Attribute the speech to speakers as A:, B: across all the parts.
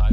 A: I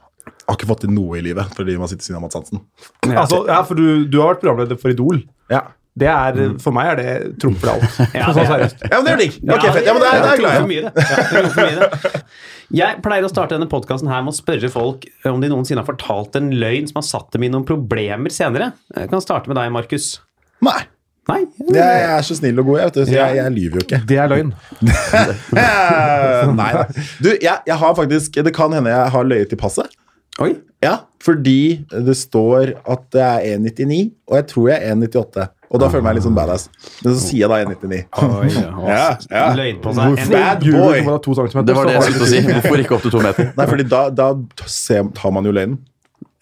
B: har ikke fått til noe i livet fordi man sitter ved siden av Mads Hansen.
C: Altså, ja, for du, du har vært programleder for Idol.
B: Ja.
C: Det er, For meg er det trumfer det alt. Sånn seriøst.
B: ja, men det er digg. Ok, fett. Ja, men det er, det er jeg glad i.
D: jeg Jeg pleier å starte denne podkasten med å spørre folk eh, om de noensinne har fortalt en løgn som har satt dem i noen problemer senere. Jeg kan starte med deg, Markus.
B: Nei.
D: Nei?
B: Jeg jeg er så snill og god, jeg, vet du, så jeg, jeg lyver jo ikke.
C: Det er løgn.
B: Eh, Nei da. Du, jeg, jeg har faktisk Det kan hende jeg har løyet i passet.
D: Oi.
B: Ja, fordi det står at det er 1,99, og jeg tror jeg er 1,98. Og da føler jeg meg litt sånn badass. Men så sier jeg da 1,99. Ja, ja.
D: Løgn på seg.
B: Hvorfor? Bad
C: Ljuger
B: boy.
C: du om at det er to centimeter,
E: Det var
C: så
E: det jeg
C: har du
E: skulle si. Hvorfor ikke opp til to meter?
B: Nei, fordi da, da ser, tar man jo løgnen.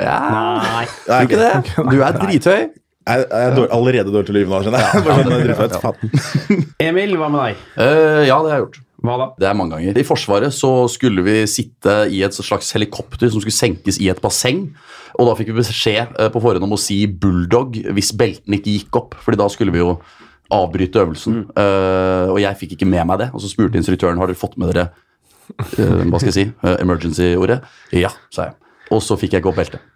E: Ja,
D: Nei.
B: Nei, ok.
E: ikke det? Du er drithøy.
B: Jeg, jeg er dårlig, allerede dårlig til å lyve nå, skjønner jeg. Bare sånn, jeg driter meg ut. Faen.
D: Emil, hva med deg?
E: Eh, ja, det har jeg gjort.
D: Hva da?
E: Det er mange ganger. I Forsvaret så skulle vi sitte i et slags helikopter som skulle senkes i et basseng. Og da fikk vi beskjed eh, på forhånd om å si 'bulldog' hvis beltene ikke gikk opp. Fordi da skulle vi jo avbryte øvelsen. Eh, og jeg fikk ikke med meg det. Og så spurte instruktøren har dere fått med dere eh, hva skal jeg si, eh, emergency-ordet. Ja, sa jeg. Og så fikk jeg ikke opp beltet.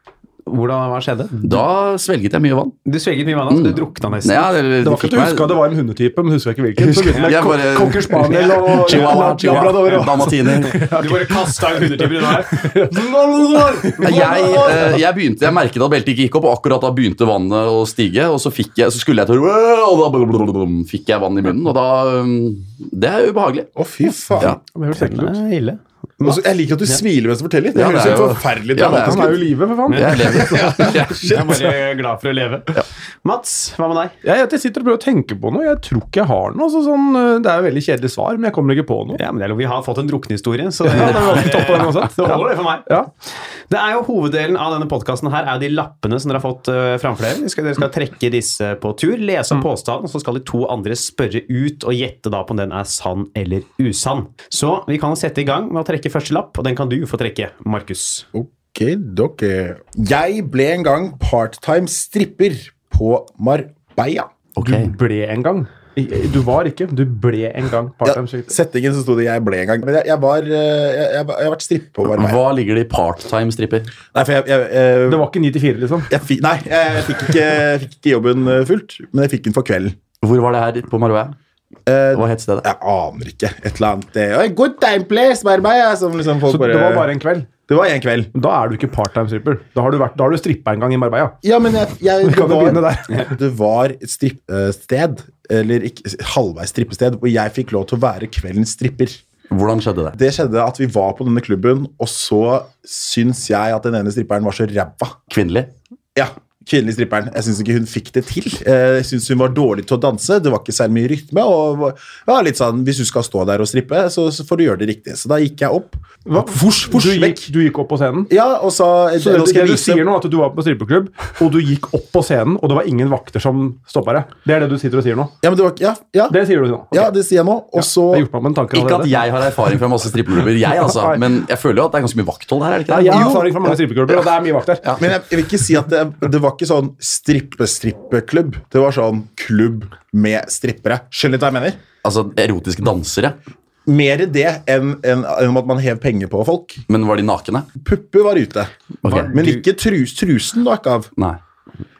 D: Hvordan, hva skjedde?
E: Da svelget jeg mye vann.
D: Du svelget mye vann, altså. Du drukna nesten.
E: Mm. Ja, det,
C: Det var ikke at du huska det var en hundetype, men huska ikke hvilken. Så begynte
E: Jeg
C: jeg med
E: bare-
C: Cocker Spaniel og
E: Chihuahua,
C: Labrador
E: chihuahua,
C: og-
E: dalmatiner.
D: Du bare kasta en hundetimer unna her.
E: jeg, eh, jeg begynte, jeg merket at beltet ikke gikk opp, og akkurat da begynte vannet å stige. Og så, fikk jeg, så skulle jeg til å- og da blablabla, fikk jeg vann i munnen, og da um, Det er ubehagelig.
B: Å, fy faen.
E: Ja.
C: Ja, men det er jo
D: Det
C: kult.
D: er ille.
B: Og så- jeg liker at du smiler mens du forteller. Det
E: Ja,
B: høres
E: det er
B: jo
E: jo-
B: forferdelig
E: Ja, det er-
B: dramatisk
C: Han er
B: ut.
C: jo i live, for faen.
E: Jeg
D: Jeg
E: lever.
D: er bare glad for å leve. Mats, hva med deg?
C: Jeg, jeg sitter og prøver å tenke på noe. Jeg tror ikke jeg har noe. Så sånn, eh, det er jo veldig kjedelig svar, men jeg kommer ikke på noe.
D: Ja, men det er lov. Vi har fått en druknehistorie, så det,
C: Ja, det var topp på den også.
D: det holder det for meg.
C: Ja.
D: Det er jo Hoveddelen av denne podkasten er jo de lappene som dere har fått eh, framfor dere. Dere skal, dere skal trekke disse på tur, lese opp påstanden, og så skal de to andre spørre ut og gjette da på om den er sann eller usann. Så vi kan sette i gang med å trekke første lapp, og den kan du få trekke, Markus.
B: Ok, dere. Jeg ble en gang part-time stripper på Marbella.
E: Ok.
C: Du ble en gang. I- Du var ikke, du ble en gang part-time
B: Ja,
C: stripper.
B: settingen så sto det 'jeg ble en gang'. Men jeg, jeg var eh, Jeg, jeg, jeg har vært stripper på Marbella.
E: Hva ligger det i part-time stripper?
B: Nei, for jeg, jeg, jeg,
C: Det var ikke 9 til 4, liksom.
B: jeg, fikk, nei, jeg, jeg, fikk ikke, jeg fikk ikke jobben eh, fullt, men jeg fikk den for kvelden.
E: Hvor var det her på Marbella?
B: Eh,
E: Hva het stedet?
B: jeg aner ikke. Et eller annet det, «Oi, Good time place, Marbella! Som liksom folk
C: Så
B: bare,
C: det var bare en kveld.
B: Det var en kveld.
C: Da er du ikke part-time stripper. Da har du, vært- da har du strippa en gang i Marbella.
B: Ja, men jeg, jeg, det,
C: kan jo begynne
B: var,
C: der.
B: det var et strippested, eller ikke, halvveis strippested, hvor jeg fikk lov til å være kveldens stripper.
E: Hvordan skjedde det?
B: Det skjedde at vi var på denne klubben, og så syns jeg at den ene stripperen var så ræva.
E: Kvinnelig?
B: Ja, kvinnelig stripperen. Jeg syns ikke hun fikk det til. Eh, Jeg syns hun var dårlig til å danse. Det var ikke særlig mye rytme. Og ja, litt sånn, Hvis du skal stå der og strippe, så, så får du gjøre det riktig. Så da gikk jeg opp. Fors, fors,
C: Du
B: vekk.
C: gikk, du gikk opp på scenen.
B: Ja, og sa
C: Så
B: nå skal
C: det, det
B: jeg
C: du
B: vise-
C: sier nå, er at du var på strippeklubb, og du gikk opp på scenen, og det var ingen vakter som stoppa deg. Det er det du sitter og sier nå.
B: Ja, men det var ikke Ja, ja,
C: Det sier du nå. Ok.
B: ja det sier jeg nå. Og så
C: Jeg har gjort meg opp en tanke
E: Ikke at
C: allerede.
E: jeg har erfaring fra masse strippeklubber, jeg altså,
C: Nei.
E: men jeg føler jo at det er ganske mye vakthold her. er det ikke
C: Nei,
E: det?
C: jeg har erfaring fra mange strippeklubber, og det er mye vakter.
B: Men jeg, jeg vil ikke si at det, det var ikke sånn strippe-strippeklubb. Det var sånn klubb med strippere. Skjønner du hva jeg mener?
E: Altså erotiske dansere.
B: Mer det enn enn- enn at man hev penger på folk.
E: Men var de nakne?
B: Pupper var ute.
E: Ok.
B: Men ikke trus, trusen du ikke av.
E: Nei.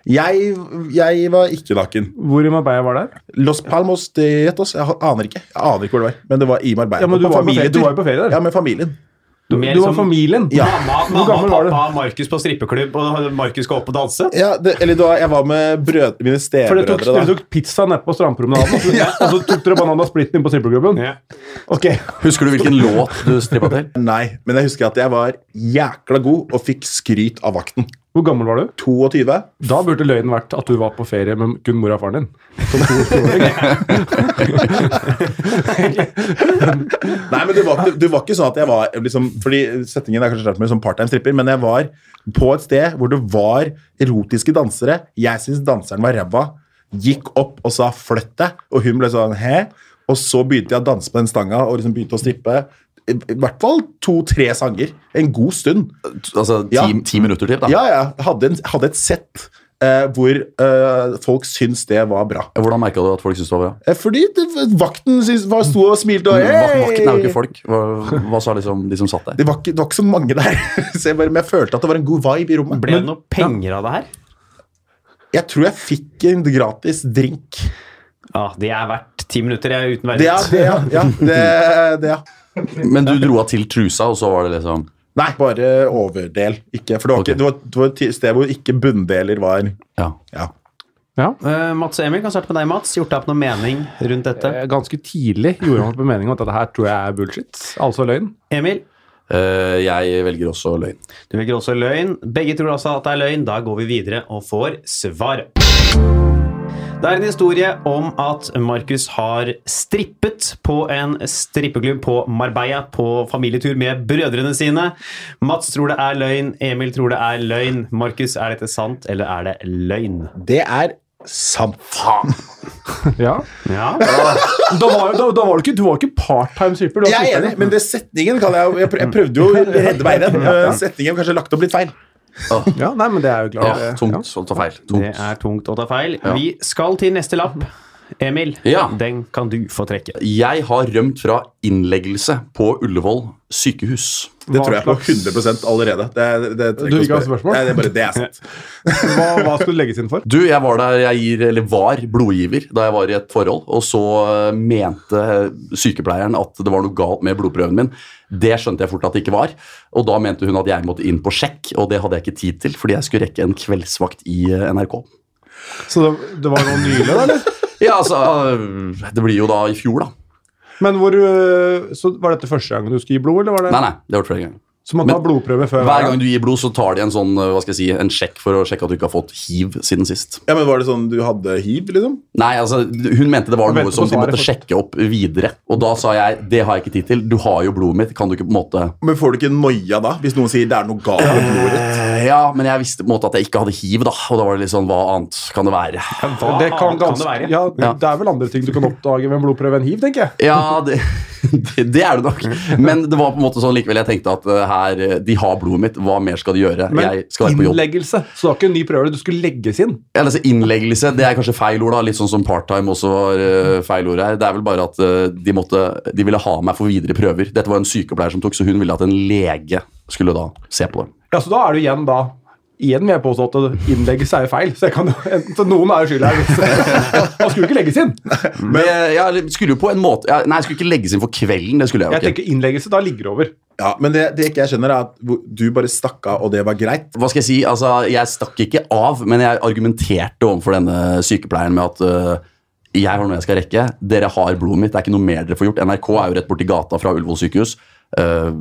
B: Jeg, jeg var ikke naken.
C: Hvor i Marbella var det?
B: Los Palmos de Yetos. Jeg aner ikke Jeg aner ikke hvor det var. Men det var i Marbella.
C: Ja, men du var på ferie-
B: familietur.
C: du var jo på ferie der.
B: Ja, med familien.
C: Du,
D: Mer
C: du var
D: som-
C: familien.
B: Ja.
D: Mamma,
C: Hvor gammel
D: mamma
C: var
D: og
C: du?
D: pappa Markus på strippeklubb, og Markus skal opp og danse?
B: Ja, det, eller det var, jeg var med brød, mine
C: For dere tok,
B: stebrødre.
C: dere
B: da.
C: tok pizza nede på strandpromenaden, og så, og så tok dere Banana Splitten inn på strippeklubben?
D: Ja.
C: Ok.
E: Husker du hvilken låt du strippa til?
B: Nei, men jeg husker at jeg var jækla god og fikk skryt av vakten.
C: Hvor gammel var du?
B: 22.
C: Da burde løgnen vært at du var på ferie med kun mora og faren din. Som to toåring.
B: Nei, men det var, ikke- det var ikke sånn at jeg var liksom, Fordi settingen er kanskje startet med som part-time-stripper, men jeg var på et sted hvor det var erotiske dansere. Jeg syns danseren var ræva. Gikk opp og sa 'flytt deg', og hun ble sånn 'hæ?' Og så begynte jeg å danse på den stanga og liksom begynte å strippe. I i hvert fall to-tre sanger. En god stund.
E: Altså ti,
B: Ja.
E: ti minutter til? da
B: Ja, ja. Hadde, en, hadde et sett eh, hvor eh, folk syns det var bra.
E: Hvordan merka du at folk syntes det var bra?
B: Eh, Fordi det, vakten syns, var, sto og smilte og
E: Vak- Mm, Vakten er jo
B: «Hey!»
E: ikke folk. Hva, hva sa liksom de som satt der?
B: Det var ikke, det var ikke så mange der, så jeg bare, men jeg følte at det var en god vibe i rommet.
D: Ble det noe penger av det her?
B: Jeg tror jeg fikk en gratis drink.
D: Ja, det er verdt ti minutter jeg, uten
B: Det, ja,
D: verdighet.
B: det, ja, ja, det, det, ja.
E: Men du dro av til trusa, og så var det liksom
B: Nei, bare overdel. Ikke, for det var,
E: Ok.
B: ikke, det var, det var et sted hvor ikke bunndeler var
E: Ja.
B: ja.
C: Ja.
D: Eh, Mats og Emil, kan starte med deg, Mats. Gjort deg opp noe mening rundt dette?
C: Eh, Ganske tidlig gjorde han opp en mening om at dette her tror jeg er bullshit. Altså løgn.
D: Emil?
E: Eh, jeg velger også løgn.
D: Du velger også løgn. Begge tror altså at det er løgn. Da går vi videre og får svaret. Det er en historie om at Markus har strippet på en strippeklubb på Marbella på familietur med brødrene sine. Mats tror det er løgn, Emil tror det er løgn. Markus, er dette sant, eller er det løgn?
B: Det er sant. Faen.
C: Ja.
D: Ja,
C: Da var, da, da var du ikke, du var ikke part-time stripper. du var
B: Jeg er
C: stripper.
B: enig, men det setningen kan jeg, jo- jeg prøv- jeg prøvde jo å redde veien. Eh, Setningen var kanskje lagt opp litt feil.
C: Ja, nei, men det er jo
E: Ja,
C: klart. det-
E: tungt å ta feil.
D: Det
E: Tungt.
D: er tungt å ta feil. Vi skal til neste lapp. Emil,
E: Ja.
D: den kan du få trekke.
E: Jeg har rømt fra innleggelse på Ullevål sykehus.
B: Det
C: Hva
B: tror jeg på 100
C: slags-
B: allerede. Det, det, det, trenger
C: Du
B: å
C: ikke har
B: spørre.
C: spørsmål?
B: Nei, det er bare det er sant.
C: Ja. Hva, hva skulle det legges inn for?
E: Du, jeg var der jeg gir, eller var blodgiver da jeg var i et forhold, og så eh, mente sykepleieren at det var noe galt med blodprøven min. Det skjønte jeg fort at det ikke var, og da mente hun at jeg måtte inn på sjekk, og det hadde jeg ikke tid til, fordi jeg skulle rekke en kveldsvakt i eh, NRK.
C: Så det, det var noe nylig, da, eller?
E: Ja, altså, eh, det blir jo da i fjor da.
C: Men hvor, øh, så var dette første gangen du skulle gi blod, eller var det?
E: Nei, nei, det har vært flere ganger.
C: Så man tar
E: Men-
C: blodprøve før
E: Hver gang du gir blod, så tar de en sånn, eh, hva skal jeg si, en sjekk for å sjekke at du ikke har fått hiv siden sist.
B: Ja, men Var det sånn du hadde hiv, liksom?
E: Nei, altså, hun mente det var
C: Og vente
E: noe
C: på
E: som de
C: svaret
E: måtte
C: først.
E: sjekke opp videre. Og da sa jeg, det har jeg ikke tid til, du har jo blodet mitt, kan du ikke på en måte...
B: Men får du ikke noia da, hvis noen sier det er noe galt med blodet?
E: Eh, Ja, men jeg visste på en måte at jeg ikke hadde hiv, da. Og da var det litt sånn, hva annet kan det være?
D: Hva
C: det kan,
D: annet kan
C: ganske-
D: det være?
C: Ja,
E: Ja.
C: det er vel andre ting du kan oppdage med en blodprøve enn hiv, tenker jeg.
E: Ja, det, det, det er det nok. Men det var på en måte sånn likevel. Jeg tenkte at eh, her, eh, de har blodet mitt, hva mer skal de gjøre?
C: Men
E: jeg skal være på jobb.
C: innleggelse, så det var ikke en ny prøve, du skulle legges inn.
E: Eller altså innleggelse, det er kanskje feil ord, da. Litt sånn som part-time også var eh, feil ord her. Det er vel bare at eh, de, måtte, de ville ha meg for videre prøver. Dette var en sykepleier som tok, så hun ville at en lege skulle da se på det.
C: Ja, så da er du igjen da Igjen vil jeg påstå at innleggelse er jo feil. Så, jeg kan, enten, så noen er jo skyld her. hvis- Han skulle jo ikke legges inn.
E: Men eh, ja, eller skulle jo på en måte ja, Nei, jeg skulle ikke legges inn for kvelden. Det skulle jeg jo
C: Jeg
E: ikke.
C: tenker innleggelse, da ligger det over.
B: Ja, Men det, det ikke jeg skjønner, er at hvor- du bare stakk av, og det var greit.
E: hva skal jeg si, altså jeg stakk ikke av, men jeg argumenterte overfor denne sykepleieren med at øh, jeg har noe jeg skal rekke, dere har blodet mitt, det er ikke noe mer dere får gjort. NRK er jo rett borti gata fra Ullevål sykehus. Øh,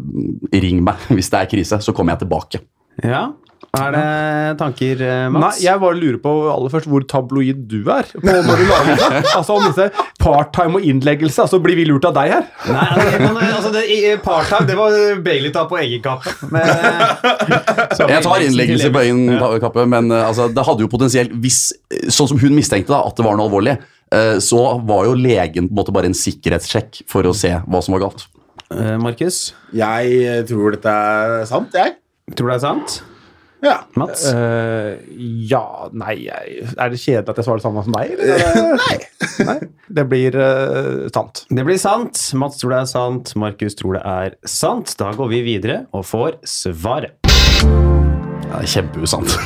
E: ring meg hvis det er krise, så kommer jeg tilbake.
D: Ja. Er det tanker, eh, Mats?
C: Nei, jeg bare lurer på aller først hvor tabloid du er. På når du lager det. Altså om disse Part-time og innleggelse, altså blir vi lurt av deg her?
D: Nei, altså, men, altså det, i, i Part-time, det var Bailey ta på egen kappe. Men, eh,
E: Jeg tar innleggelse på egen ta- kappe, men øh, altså, det hadde jo potensielt hvis, Sånn som hun mistenkte da, at det var noe alvorlig, øh, så var jo legen på en måte bare en sikkerhetssjekk for å se hva som var galt.
D: Eh, Markus,
B: Jeg tror eh, dette er sant, jeg.
D: tror du det er sant?
B: Ja.
D: Mats?
C: Eh, ja Nei, jeg, er det kjedelig at jeg svarer det samme som deg? eller? Eh, nei. Det blir eh, sant.
D: Det blir sant. Mats tror det er sant. Markus tror det er sant. Da går vi videre og får svaret.
E: Det er kjempeusant.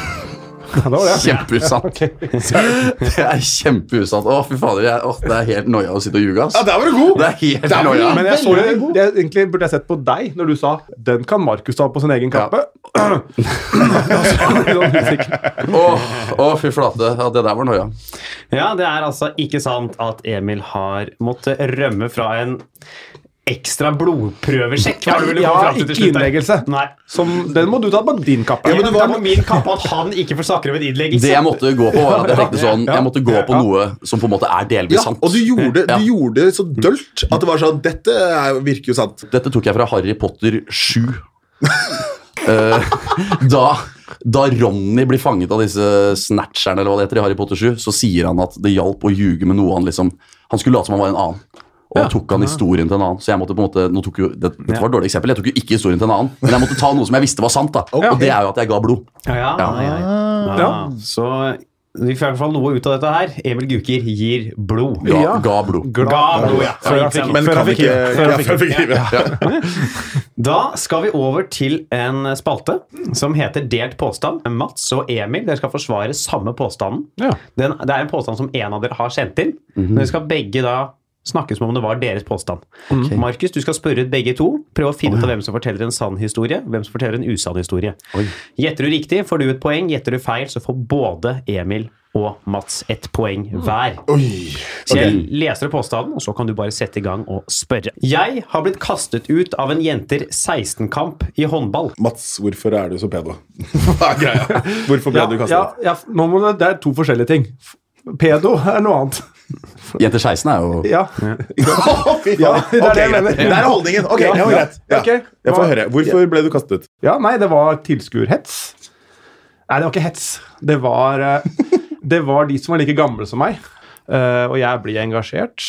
C: Ja, det var det.
E: Kjempeusant. Det er kjempeusant. Å, fy fader. Jeg, å, det er helt noia å sitte og ljuge, ass.
B: ja, der var du god!
E: Det er helt
B: Der var du
E: noia.
C: Men jeg så jo,
B: veldig god.
C: jeg, egentlig burde jeg sett på deg når du sa 'den kan Markus ta på sin egen kappe'.
E: Å, å, fy flate. Ja, det der var noia.
D: Ja, det er altså ikke sant at Emil har måttet rømme fra en ekstra blodprøvesjekk. Hva var det du ville
C: Ja,
D: komme fram til til
C: ikke
D: slutt der?
C: innleggelse.
D: Nei.
C: Som, den må du ta på din kappe.
D: Ja, men det var
C: Ja,
D: på min kappe at han ikke får snakke om en innleggelse.
E: Det jeg måtte gå på, var at jeg tenkte sånn Jeg måtte gå på noe som på en måte er delvis
B: Ja,
E: sant.
B: og du gjorde,
E: Ja.
B: du gjorde det så dølt at det var sånn Dette er- virker jo sant.
E: Dette tok jeg fra Harry Potter 7. Eh, da, da Ronny blir fanget av disse snatcherne, eller hva det heter, i Harry Potter 7, så sier han at det hjalp å ljuge med noe han liksom Han skulle late som han var en annen. Og da tok han historien til en annen. Så jeg måtte på en måte, nå tok jo, det, Dette var et dårlig eksempel. Jeg tok jo ikke historien til en annen, men jeg måtte ta noe som jeg visste var sant. da Og det er jo at jeg ga blod.
D: Ja, ja, ja, ja. ja.
C: Ja.
D: Så vi får i hvert fall noe ut av dette her. Emil Gukier gir blod.
E: Ga,
C: Ja.
E: ga blod.
C: Glad.
D: Ga blod, ja.
C: Før jeg fikk-
B: Men
C: før
B: kan vi
C: jeg fikk
B: ikke ja,
C: hiv.
B: før jeg fikk hiv, ja.
D: Da skal vi over til en spalte som heter Delt påstand. Mats og Emil dere skal forsvare samme påstanden.
C: Ja.
D: Den, det er en påstand som en av dere har sendt inn. Men Dere skal begge da snakke som om det var deres påstand. Markus, du skal spørre ut begge to. Prøv å finne ut av hvem som forteller en sann historie, hvem som forteller en usann historie. Gjetter du riktig, får du et poeng. Gjetter du feil, så får både Emil og Mats ett poeng hver.
B: Oi.
D: Så jeg leser opp påstanden, og så kan du bare sette i gang og spørre. Jeg har blitt kastet ut av en jenter 16-kamp i håndball.
B: Mats, hvorfor er du så pedo? Hva er greia? Hvorfor ble
C: Ja,
B: du kastet?
C: ja, ja, nå må det, det er to forskjellige ting. Pedo er noe annet.
E: Jenter 16 er jo
C: Ja.
B: Fy faen.
C: Ja, det er
B: Ok,
C: det jeg
B: greit.
C: mener.
B: Det er holdningen. Ok,
C: Ja,
B: det var
C: ja.
B: greit. Ja.
C: Ok.
B: Jeg får
C: Hva-
B: høre. Hvorfor ble du kastet ut?
C: ja, nei, det var tilskuerhets. Nei, det var ikke hets. Det var, eh, det var de som var like gamle som meg. Eh, og jeg ble engasjert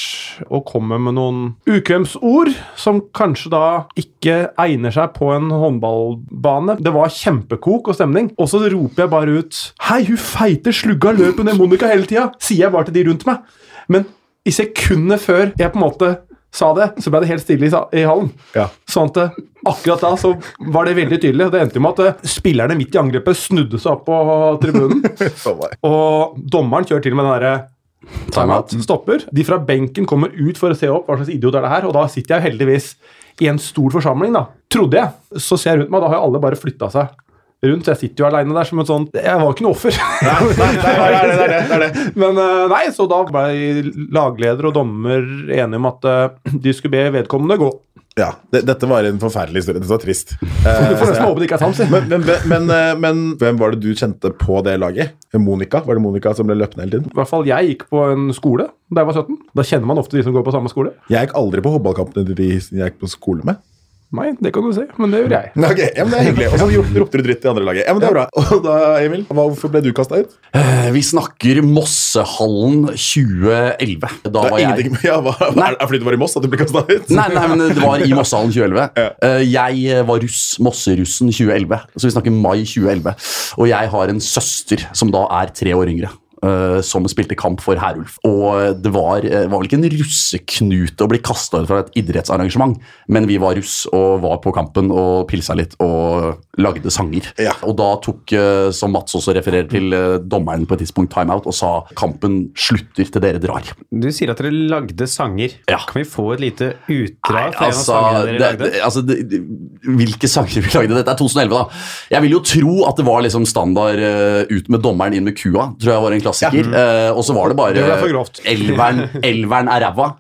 C: og kommer med noen ukvemsord som kanskje da ikke egner seg på en håndballbane. Det var kjempekok og stemning. Og så roper jeg bare ut 'Hei, hun feite slugga løper ned Monica hele tida', sier jeg bare til de rundt meg. Men i sekundet før jeg på en måte sa det, så ble det helt stille i, sa- i hallen.
B: Ja.
C: Sånn at eh, akkurat da så var det veldig tydelig. og Det endte jo med at eh, spillerne midt i angrepet snudde seg opp på tribunen.
B: For meg.
C: Og dommeren kjører til med den derre Mm.
E: timeout.
C: stopper. De fra benken kommer ut for å se opp hva slags idiot er det her, og da sitter jeg heldigvis i en stor forsamling, da. Trodde jeg. Så ser jeg rundt meg, da har jo alle bare flytta seg rundt. så Jeg sitter jo aleine der som en sånn Jeg var jo ikke noe offer.
B: det er det, det er det.
C: Men eh, nei, så da ble lagleder og dommer enige om at eh, de skulle be vedkommende gå.
B: Ja, det, dette var en forferdelig historie. Dette var trist.
C: Du får
B: Eh,
C: nesten håpe det ikke er sant, si.
B: men, men, men, eh, men hvem var det du kjente på det laget? Monica? Var det Monica som ble løpende hele tiden?
C: I hvert fall jeg gikk på en skole da jeg var 17. Da kjenner man ofte de som går på samme skole.
B: Jeg gikk aldri på håndballkampene til de jeg gikk på skole med.
C: Nei, det kan du si, men det gjør jeg.
B: Ok, ja, men Det er hyggelig. Og så ro- ropte du dritt i andre laget. Ja, men det er bra. Og da, Emil, hva- hvorfor ble du kasta ut?
E: Eh, Vi snakker Mossehallen 2011. Da
B: Det
E: var
B: er
E: jeg
B: ingenting med ja, hva, hva, Er det fordi du var i Moss at du ble kasta ut?
E: Nei, nei, men det var i Mossehallen 2011. Eh, Jeg var russ, Mosserussen 2011, så vi snakker mai 2011. Og jeg har en søster som da er tre år yngre. eh, som spilte kamp for Herulf. Og det var, eh, var vel ikke en russeknute å bli kasta ut fra et idrettsarrangement, men vi var russ og var på kampen og pilsa litt og lagde sanger.
B: Ja.
E: Og da tok, eh, som Mats også refererer til, eh, dommeren på et tidspunkt timeout og sa kampen slutter til dere drar.
D: Du sier at dere lagde sanger.
E: Ja.
D: Kan vi få et lite utdrag fra
E: altså,
D: en av sangene dere
E: det,
D: lagde?
E: det- altså det, det, Hvilke sanger vi lagde? Dette er 2011, da. Jeg vil jo tro at det var liksom standard eh, ut med dommeren, inn med kua. Tror jeg var en klassiker. Eh, og så var det bare
C: Det ble for grovt.
E: Elveren, elveren er ræva.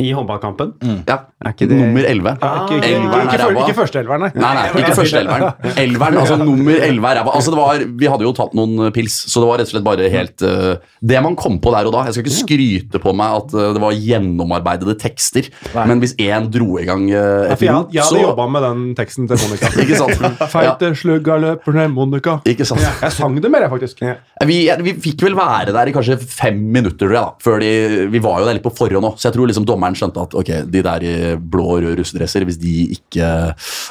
D: I håndballkampen?
E: Ja.
D: ikke det-
E: Nummer 11.
C: Ikke, ikke, ikke,
E: Elveren
C: ikke,
E: er
C: før-
E: ræva.
C: ikke første elveren, nei.
E: Nei, nei, ikke første elveren. Elveren, altså nummer elleve er ræva. Altså, det var, vi hadde jo tatt noen eh, pils, så det var rett og slett bare helt eh, Det man kom på der og da. Jeg skal ikke skryte på meg at eh, det var gjennomarbeidede tekster, men hvis én dro i gang eh,
C: Ja,
E: et
C: for jeg,
E: rot,
C: jeg hadde
E: så
C: jobba med den teksten til Monica.
E: Ikke sant?
C: Feite slugga løper ned Monica.
E: Ikke sant? Eh,
C: Jeg sang det mer, jeg, faktisk.
E: Vi, vi fikk vel være der i kanskje fem minutter, tror jeg. da Før de, Vi var jo der litt på forhånd òg, så jeg tror liksom dommeren skjønte at ok, de der i blå og rød russedresser, hvis de ikke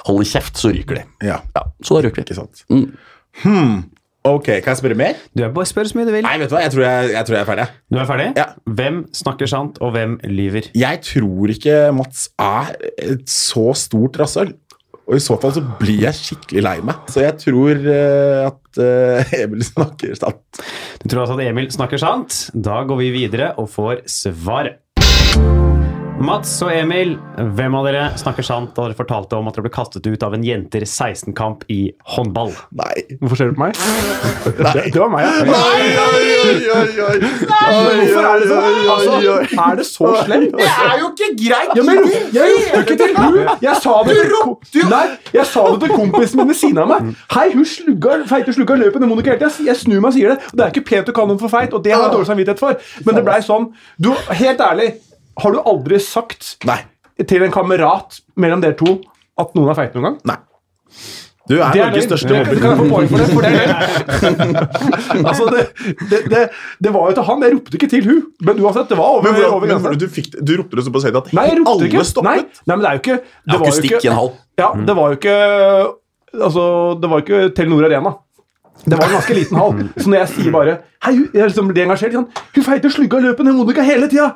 E: holder kjeft, så ryker de.
B: Ja,
E: Ja, Så da røk vi.
B: ikke sant. Hmm. Ok, kan jeg spørre mer?
D: Du er bare spør så mye du vil.
B: Nei, vet du hva? Jeg tror jeg, jeg, tror jeg er ferdig. jeg.
D: Du er ferdig?
B: Ja.
D: Hvem snakker sant, og hvem lyver?
B: Jeg tror ikke Mats er et så stort rasshøl. Og i så fall så blir jeg skikkelig lei meg. Så jeg tror eh, at eh, Emil snakker sant.
D: Du tror altså at Emil snakker sant? Da går vi videre og får svaret. Mats og Emil, hvem av dere snakker sant da dere fortalte om at dere ble kastet ut av en jenter 16-kamp i håndball?
B: Nei.
C: Hvorfor ser du på meg? Det, det var meg. ja.
B: Oi, oi, oi, oi, oi.
C: Hvorfor er det sånn? Altså, er det så slemt?
B: Det er jo ikke greit!
C: Ja, men jeg ropte ikke til hun! Jeg sa det til, kom Nei, jeg sa det til kompisen min ved siden av
B: Mm.
C: meg. Hei, hun slugga, feite slugga løpet. Det må du ikke helt Jeg, jeg snur meg og sier det. Og det er ikke pent å kalle noen for feit, og det har jeg dårlig samvittighet for. Men det blei sånn. Du, helt ærlig, har du aldri sagt
B: Nei.
C: til en kamerat mellom dere to at noen er feit noen gang?
B: Nei. Du er
C: Det er
B: Norges
C: løgn.
B: største
C: Kan-
B: mobber.
C: Kan jeg få poeng for det? For det er løgn. altså, det, det, det, det var jo til han. Jeg ropte ikke til hun. Men uansett, det var over.
B: Men hvordan,
C: over
B: men,
C: grensa.
B: hvordan- du, fikk, det- du ropte det såpass høyt at
C: Nei, jeg ropte
B: alle
C: ikke. Nei,
B: stoppet.
C: nei, men det er jo ikke det var jo
E: Akustikk
C: ikke-
E: i en hall.
C: Ja, det var jo ikke Altså, det var jo ikke Telenor Arena. Det var en ganske liten hall. Så når jeg sier bare Hei, hun- jeg liksom blir engasjert sånn, Hun feite slugga løpet ned Monica hele tida!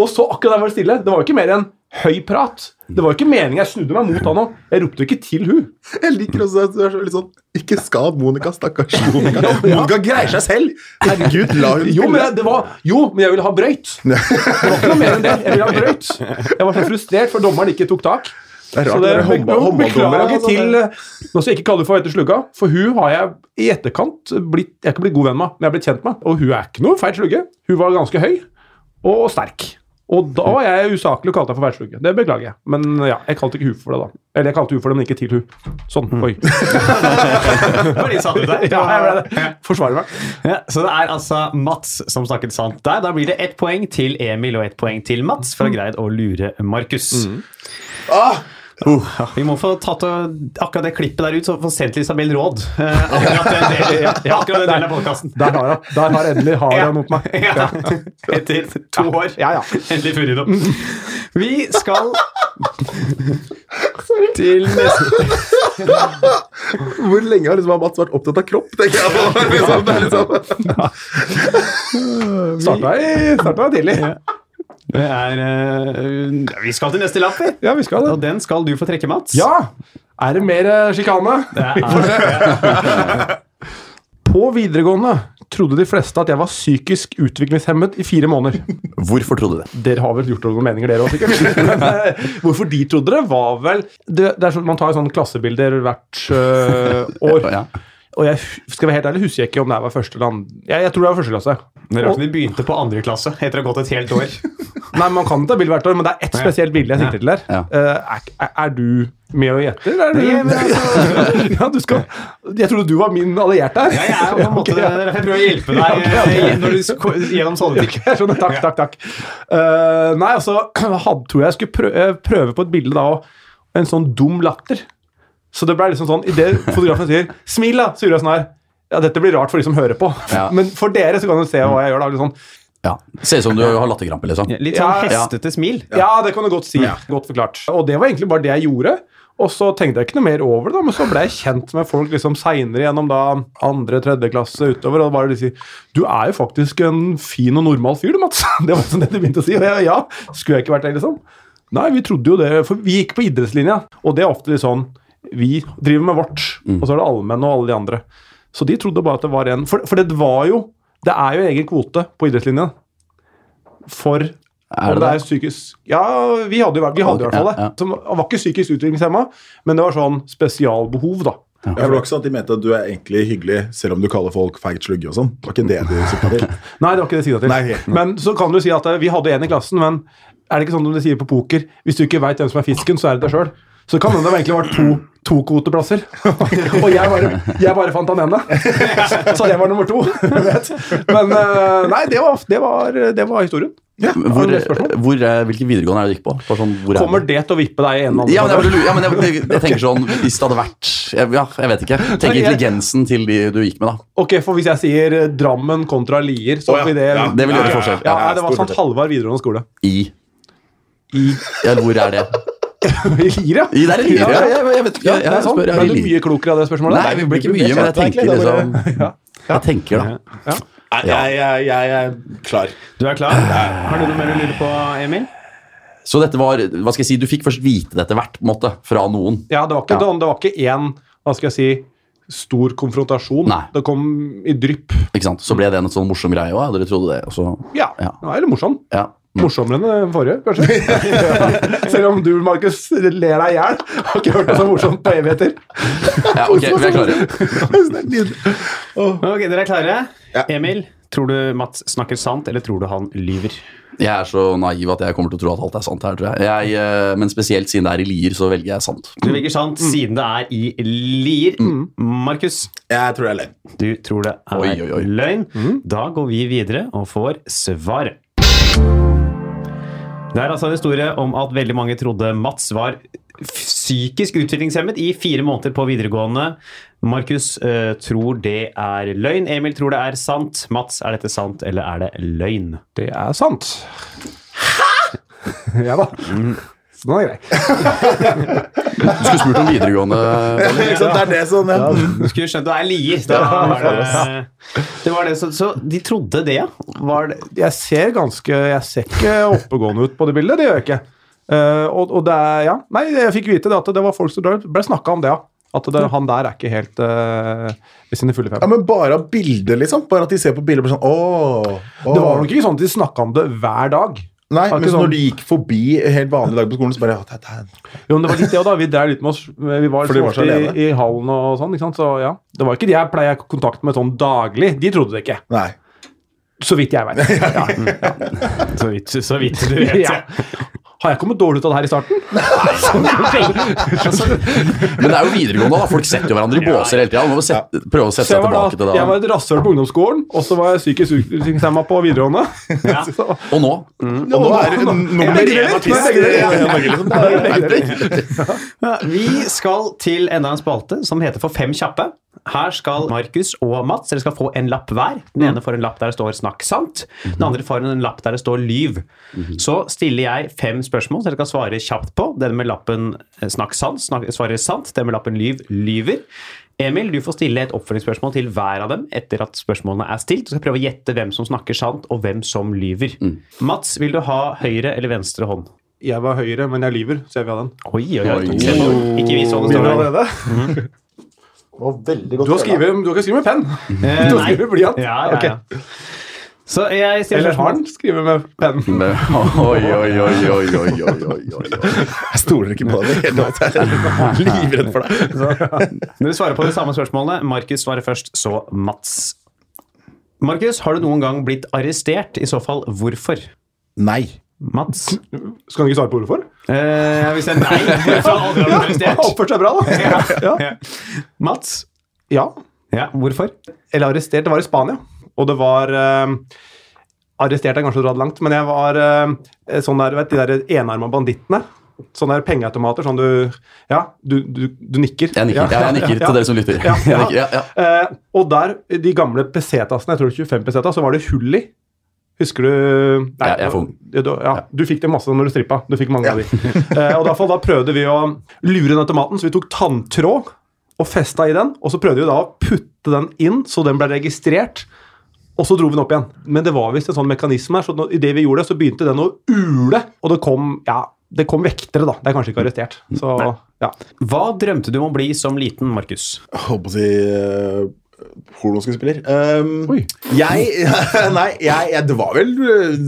C: Og så akkurat der var det stille. Det var jo ikke mer enn høy prat. Det var jo ikke meningen jeg snudde meg mot han òg. Jeg ropte jo ikke til hun.
B: Jeg liker også at du er så litt sånn Ikke skad Monica, stakkars Monica. Monica greier seg selv! Herregud, la hun
C: Jo, men jeg, det var, jo, men jeg ville ha brøyt. Det var ikke noe mer enn det. Jeg ville ha brøyt. Jeg var så frustrert for dommeren ikke tok tak.
B: Det er
C: Så
B: rart,
C: det
B: det er håndball-
C: beklager
B: håndballdommere, altså,
C: til
B: det-
C: Nå skal jeg ikke kalle henne for Veite Slugga, for hun har jeg i etterkant blitt, Jeg er ikke blitt god venn med, men jeg har blitt kjent med. Og hun er ikke noe feil slugge. Hun var ganske høy og sterk. Og da var jeg usaklig og kalte henne for feil slugge. Det beklager jeg. Men ja, jeg kalte ikke hun for det, da. Eller jeg kalte hun for det, men ikke til hun. Sånn. Oi. Ja, jeg ble det. Forsvarer meg.
D: Ja, så det er altså Mats som snakket sant der. Da blir det ett poeng til Emil og ett poeng til Mats for å ha
C: Mm.
D: greid å lure Markus. Uh,
B: Ah!
D: Ja, vi må få tatt og- akkurat det klippet der ut, så får sendt til Isabel råd. Eh, akkurat den delen, ja, akkurat den delen av podkasten.
C: Der har jeg. Der har endelig har jeg noe på meg.
D: Ja. Etter to år.
C: Ja, ja.
D: Endelig funnet det opp. Vi skal til neste
B: Hvor lenge har liksom Mats vært opptatt av kropp? tenker jeg på. Liksom, det er liksom.
C: Starta, i, starta tidlig.
D: Det er eh, Vi skal til neste lapp, vi.
C: Ja, vi skal
D: Og
C: det.
D: den skal du få trekke, Mats.
C: Ja! Er det mer eh, sjikane?
D: Det er
C: På videregående trodde de fleste at jeg var psykisk utviklingshemmet i fire måneder.
E: Hvorfor trodde du det?
C: Dere har vel gjort dere noen meninger, dere òg, sikkert. Men, eh, Hvorfor de trodde det, var vel det, det er sånn, Man tar jo sånne klassebilder hvert eh, år.
E: Ja.
C: Og jeg hu- skal være helt ærlig, husker jeg ikke om det her var første eller andre jeg, jeg tror det var første klasse.
D: Det er rart vi begynte på andre klasse etter å ha gått et helt år.
C: Nei, Man kan ta bilde hvert år, men det er ett spesielt bilde jeg sikter til der.
E: Ja.
C: Eh, Er, er, er du med og gjetter? eller Er du,
D: Nei, men altså-
C: ja, du skal, jeg trodde du var min alliert der.
D: Ja, jeg er jo på en måte
C: Ok, ja.
D: Jeg prøver å hjelpe deg eh, når du sk- gjennom sånne ting.
C: Jeg skjønner. Takk, takk, takk. Eh, nei, altså, had, tror jeg skulle prøve, prøve på et bilde da, og en sånn dum latter. Så det ble liksom sånn, idet fotografen sier 'smil', da, så gjorde jeg sånn her. Ja, dette blir rart for de som hører på,
E: Ja.
C: men for dere så kan du se hva jeg gjør. da, litt sånn.
E: Ja. Ser ut som du har latterkrampe, liksom.
D: Litt sånn
C: Ja,
E: ja.
D: hestete smil.
C: Ja, det kan du godt si. Godt forklart. Og det var egentlig bare det jeg gjorde. Og så tenkte jeg ikke noe mer over det, da, men så ble jeg kjent med folk liksom seinere gjennom da andre, tredje klasse utover, og bare de sier liksom, 'Du er jo faktisk en fin og normal fyr, du, Mats'. Det var sånn det de begynte å si. Og jeg, ja, skulle jeg ikke vært det, liksom? Nei, vi trodde jo det, for vi gikk på idrettslinja, og det er ofte litt sånn Vi driver med vårt, og så er det allmenne og alle de andre. Så de trodde bare at det var en For, for det var jo Det er jo en egen kvote på idrettslinja for
E: Er
C: om
E: det
C: det er
E: det?
C: psykisk Ja, vi hadde jo vært- vi hadde i
E: Ok,
C: hvert fall
E: ja,
C: det.
E: ja.
C: Som var ikke psykisk utviklingshemma, men det var sånn spesialbehov, da.
B: Ja, for det var ikke sånn at de mente at du er egentlig hyggelig, selv om du kaller folk feit slugge og sånn. Det var ikke det de sikta til.
C: Nei, det var ikke det sida til.
B: Nei, helt.
C: men så kan du si at eh, vi hadde en i klassen, men er det ikke sånn som de sier på poker Hvis du ikke veit hvem som er fisken, så er det deg sjøl. Så kan hende det egentlig var to, to kvoteplasser. og jeg bare, jeg bare fant han ene. Så jeg var nummer to. du vet. Men eh, nei, det var, det var, det var historien.
E: Hvor,
C: det er et spørsmål.
E: hvor, eh, hvilke videregående er det du gikk på? Bare sånn, hvor er
C: Kommer
E: det?
C: det til å vippe deg i en eller annen
E: Ja, men, jeg, bare lurer- ja, men jeg, jeg, jeg tenker sånn Hvis det hadde vært jeg, Ja, jeg vet ikke. Tenk
C: Nei, jeg-
E: intelligensen til de du gikk med, da.
C: Ok, for hvis jeg sier eh, Drammen kontra Lier, så
B: Å, ja.
C: blir det
B: Ja,
E: Det vil gjøre
B: ja,
E: forskjell.
C: Ja, nei, det var
B: stor
C: St. Halvard videregående skole.
E: I. Ja, hvor er det?
C: I Lier,
E: I- Det er
C: Ja,
E: lirer, ja.
C: ja,
E: Jeg, jeg vet ikke.
C: ja,
E: Jeg,
C: det er sant.
E: spør, jeg,
C: Ble du mye klokere av det spørsmålet?
E: Nei, vi blir ikke mye, men jeg tenker liksom Jeg tenker, da.
C: Ja.
B: Nei, jeg, jeg, jeg er klar.
D: Du er klar? Har du noe mer du lurer på, Emil?
E: Så dette var Hva skal jeg si, du fikk først vite det etter hvert, på en måte, fra noen.
C: Ja, det var ikke, sånn,
E: Ja.
C: Det, det var ikke én hva skal jeg si, stor konfrontasjon.
E: Nei.
C: Det kom i drypp.
E: Ikke sant? Så ble det en sånn morsom greie òg. Dere trodde det. Og så,
C: Ja,
E: Ja.
C: det var litt morsom.
E: ja.
C: Morsommere enn den forrige, kanskje. Selv om du, Markus, ler deg i hjel. Har ikke hørt det så morsomt på evigheter.
E: ja, ok, vi er klare.
D: Ok, dere er klare?
B: Ja.
D: Emil, tror du Mats snakker sant, eller tror du han lyver?
E: Jeg er så naiv at jeg kommer til å tro at alt er sant her, tror jeg. jeg eh, men spesielt siden det er i Lier, så velger jeg sant.
D: Du velger sant siden det er i Lier. Markus,
B: Jeg tror jeg er løgn.
D: du tror det er
E: Oi, oi, Mhm. oi.
D: løgn. Da går vi videre og får svaret. Det er altså en historie om at veldig mange trodde Mats var f- psykisk utviklingshemmet i fire måneder på videregående. Markus eh, tror det er løgn. Emil tror det er sant. Mats, er dette sant, eller er det løgn?
C: Det er sant. Hæ?! ja da. Så den er grei.
E: Du skulle spurt om videregående. Bolle.
B: Ikke sant? Det er det som ja.
D: Du skulle skjønt det er lier. Da, var det, det var det, så, så de trodde det, ja. Var det,
C: Jeg ser ganske Jeg ser ikke oppegående ut på det bildet. Det gjør jeg ikke. Eh, og, og det er Ja. Nei, jeg fikk vite det at det var folk som det ble snakka om det, ja. At det, han der er ikke helt eh, ved sine fulle fem.
B: Ja, men bare av bildet, liksom. Bare at de ser på bildet og blir sånn Åh, åh.
C: Det var nok ikke sånn at de snakka om det hver dag.
B: Nei,
C: Det var
B: men
C: ikke
B: så
C: sånn-
B: når de gikk forbi helt vanlig dag på skolen, så bare ja, det er-
C: Jo, men det var litt det også da. Vi drev litt med oss. Vi var,
B: For de var så
C: ofte i,
B: alene.
C: i hallen og sånn. ikke sant? Så ja, Det var ikke de jeg pleier å ha kontakt med sånn daglig. De trodde det ikke.
B: Nei.
C: Så vidt jeg vet. Ja.
D: så, vidt, så vidt du vet.
C: Ja. Har jeg kommet dårlig ut av det her i starten?
E: Men det er jo videregående, da. Folk setter jo hverandre i båser hele tida. Må jo sette, prøve å sette
C: Så jeg
E: seg
C: var,
E: tilbake til
C: da,
E: det.
C: jeg var
E: da.
C: et rasshøl på ungdomsskolen, og så var jeg psykisk utviklingshemma på videregående.
D: Ja.
C: Så,
E: Og nå?
B: Og nå er det nummer
C: begge
B: én
C: deler.
B: artist.
C: Begge deler.
B: Ja, begge deler.
D: Ja, Vi skal til enda en spalte som heter For fem kjappe. Her skal Markus og Mats dere skal få en lapp hver. Den ene får en lapp der det står 'snakk sant'. Den andre får en lapp der det står 'lyv'. Så stiller jeg fem spørsmål som dere kan svare kjapt på. Den med lappen eh, 'snakk sant' snak, svarer sant. Den med lappen 'lyv' lyver. Emil, du får stille et oppfølgingsspørsmål til hver av dem etter at spørsmålene er stilt. Du skal prøve å gjette hvem som snakker sant, og hvem som lyver. Mats, vil du ha høyre eller venstre hånd?
C: jeg var høyre, men jeg lyver, så jeg vil ha den.
D: Oi, oi, oi.
E: Oi.
D: Ikke vis hva det står
C: Begynner
D: der.
C: allerede. Mm. Du har skrevet du har ikke skrevet med penn. Du har skrevet med blyant.
D: Ja, ja, ja. Så jeg stiller
C: Eller har
D: spørsmål.
C: han skrevet med penn? Mm.
E: Oi, oi, oi, oi, oi, oi, oi, oi.
B: Jeg stoler ikke på deg. i det hele tatt. Jeg er Livredd for deg.
D: Dere svarer på de samme spørsmålene. Markus svarer først, så Mats. Markus, har du noen gang blitt arrestert? I så fall, hvorfor?
B: Nei.
D: Mats?
C: Skal han ikke svare på ordet for?
D: Eh, hvis jeg nei, hvorfor har du aldri
C: Ja,
D: blitt
C: han
D: arrestert?
C: oppførte seg bra, da. Ja.
D: Ja. Mats?
C: ja.
D: Ja, hvorfor?
C: Eller arrestert. Det var i Spania. Og det var eh, Arrestert er kanskje å dra det langt, men jeg var eh, sånn der, vet, du, de der enarma bandittene. Sånne der pengeautomater. Sånn du Ja, du, du, du nikker.
E: Jeg nikker, ja, jeg nikker til dere som lytter.
C: Ja,
E: Jeg nikker, ja, ja.
C: Eh, og der, i de gamle pesetasene, jeg tror det var 25 pesetas, så var det hull i. Husker du Nei,
E: Ja, jeg er for ung.
C: du, ja, du fikk det masse når du strippa. Du fikk mange av de. Eh, og i hvert fall da prøvde vi å lure den automaten, så vi tok tanntråd og festa i den. Og så prøvde vi da å putte den inn, så den ble registrert. Og så dro vi den opp igjen. Men det var visst en sånn mekanisme her, så når- i det vi gjorde det, så begynte den å ule, og det kom ja, det kom vektere, da. Det er kanskje ikke arrestert. Så ja.
D: Hva drømte du om å bli som liten, Markus?
B: Jeg Håper å si uh, pornoskuespiller. Um,
C: Oi.
B: Jeg Nei, jeg, jeg Det var vel eh,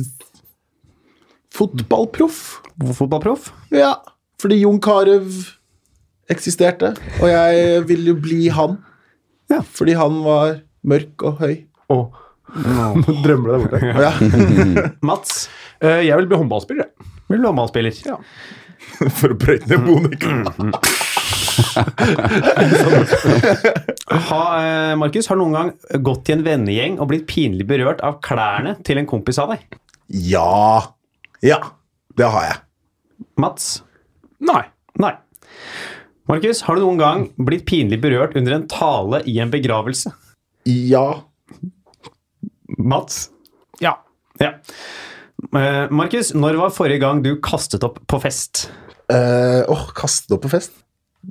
B: fotballproff.
D: Fotballproff?
B: Ja. Fordi Jon Carew eksisterte, og jeg ville jo bli han.
D: Ja.
B: Fordi han var mørk og høy.
C: Og nå drømmer du deg bort.
B: Ja.
D: Mats?
C: Eh, Jeg vil bli håndballspiller, jeg.
D: Vil du være håndballspiller?
C: Ja.
B: For å brøyte ned Monica.
D: Ha, eh, Markus, har du noen gang gått i en vennegjeng og blitt pinlig berørt av klærne til en kompis av deg?
B: Ja. Ja. Det har jeg.
D: Mats?
C: Nei.
D: Nei. Markus, har du noen gang blitt pinlig berørt under en tale i en begravelse?
B: Ja.
D: Mats?
C: Ja.
D: Ja. Eh, Markus, når var forrige gang du kastet opp på fest?
B: Eh, Åh, kaste det opp på fest?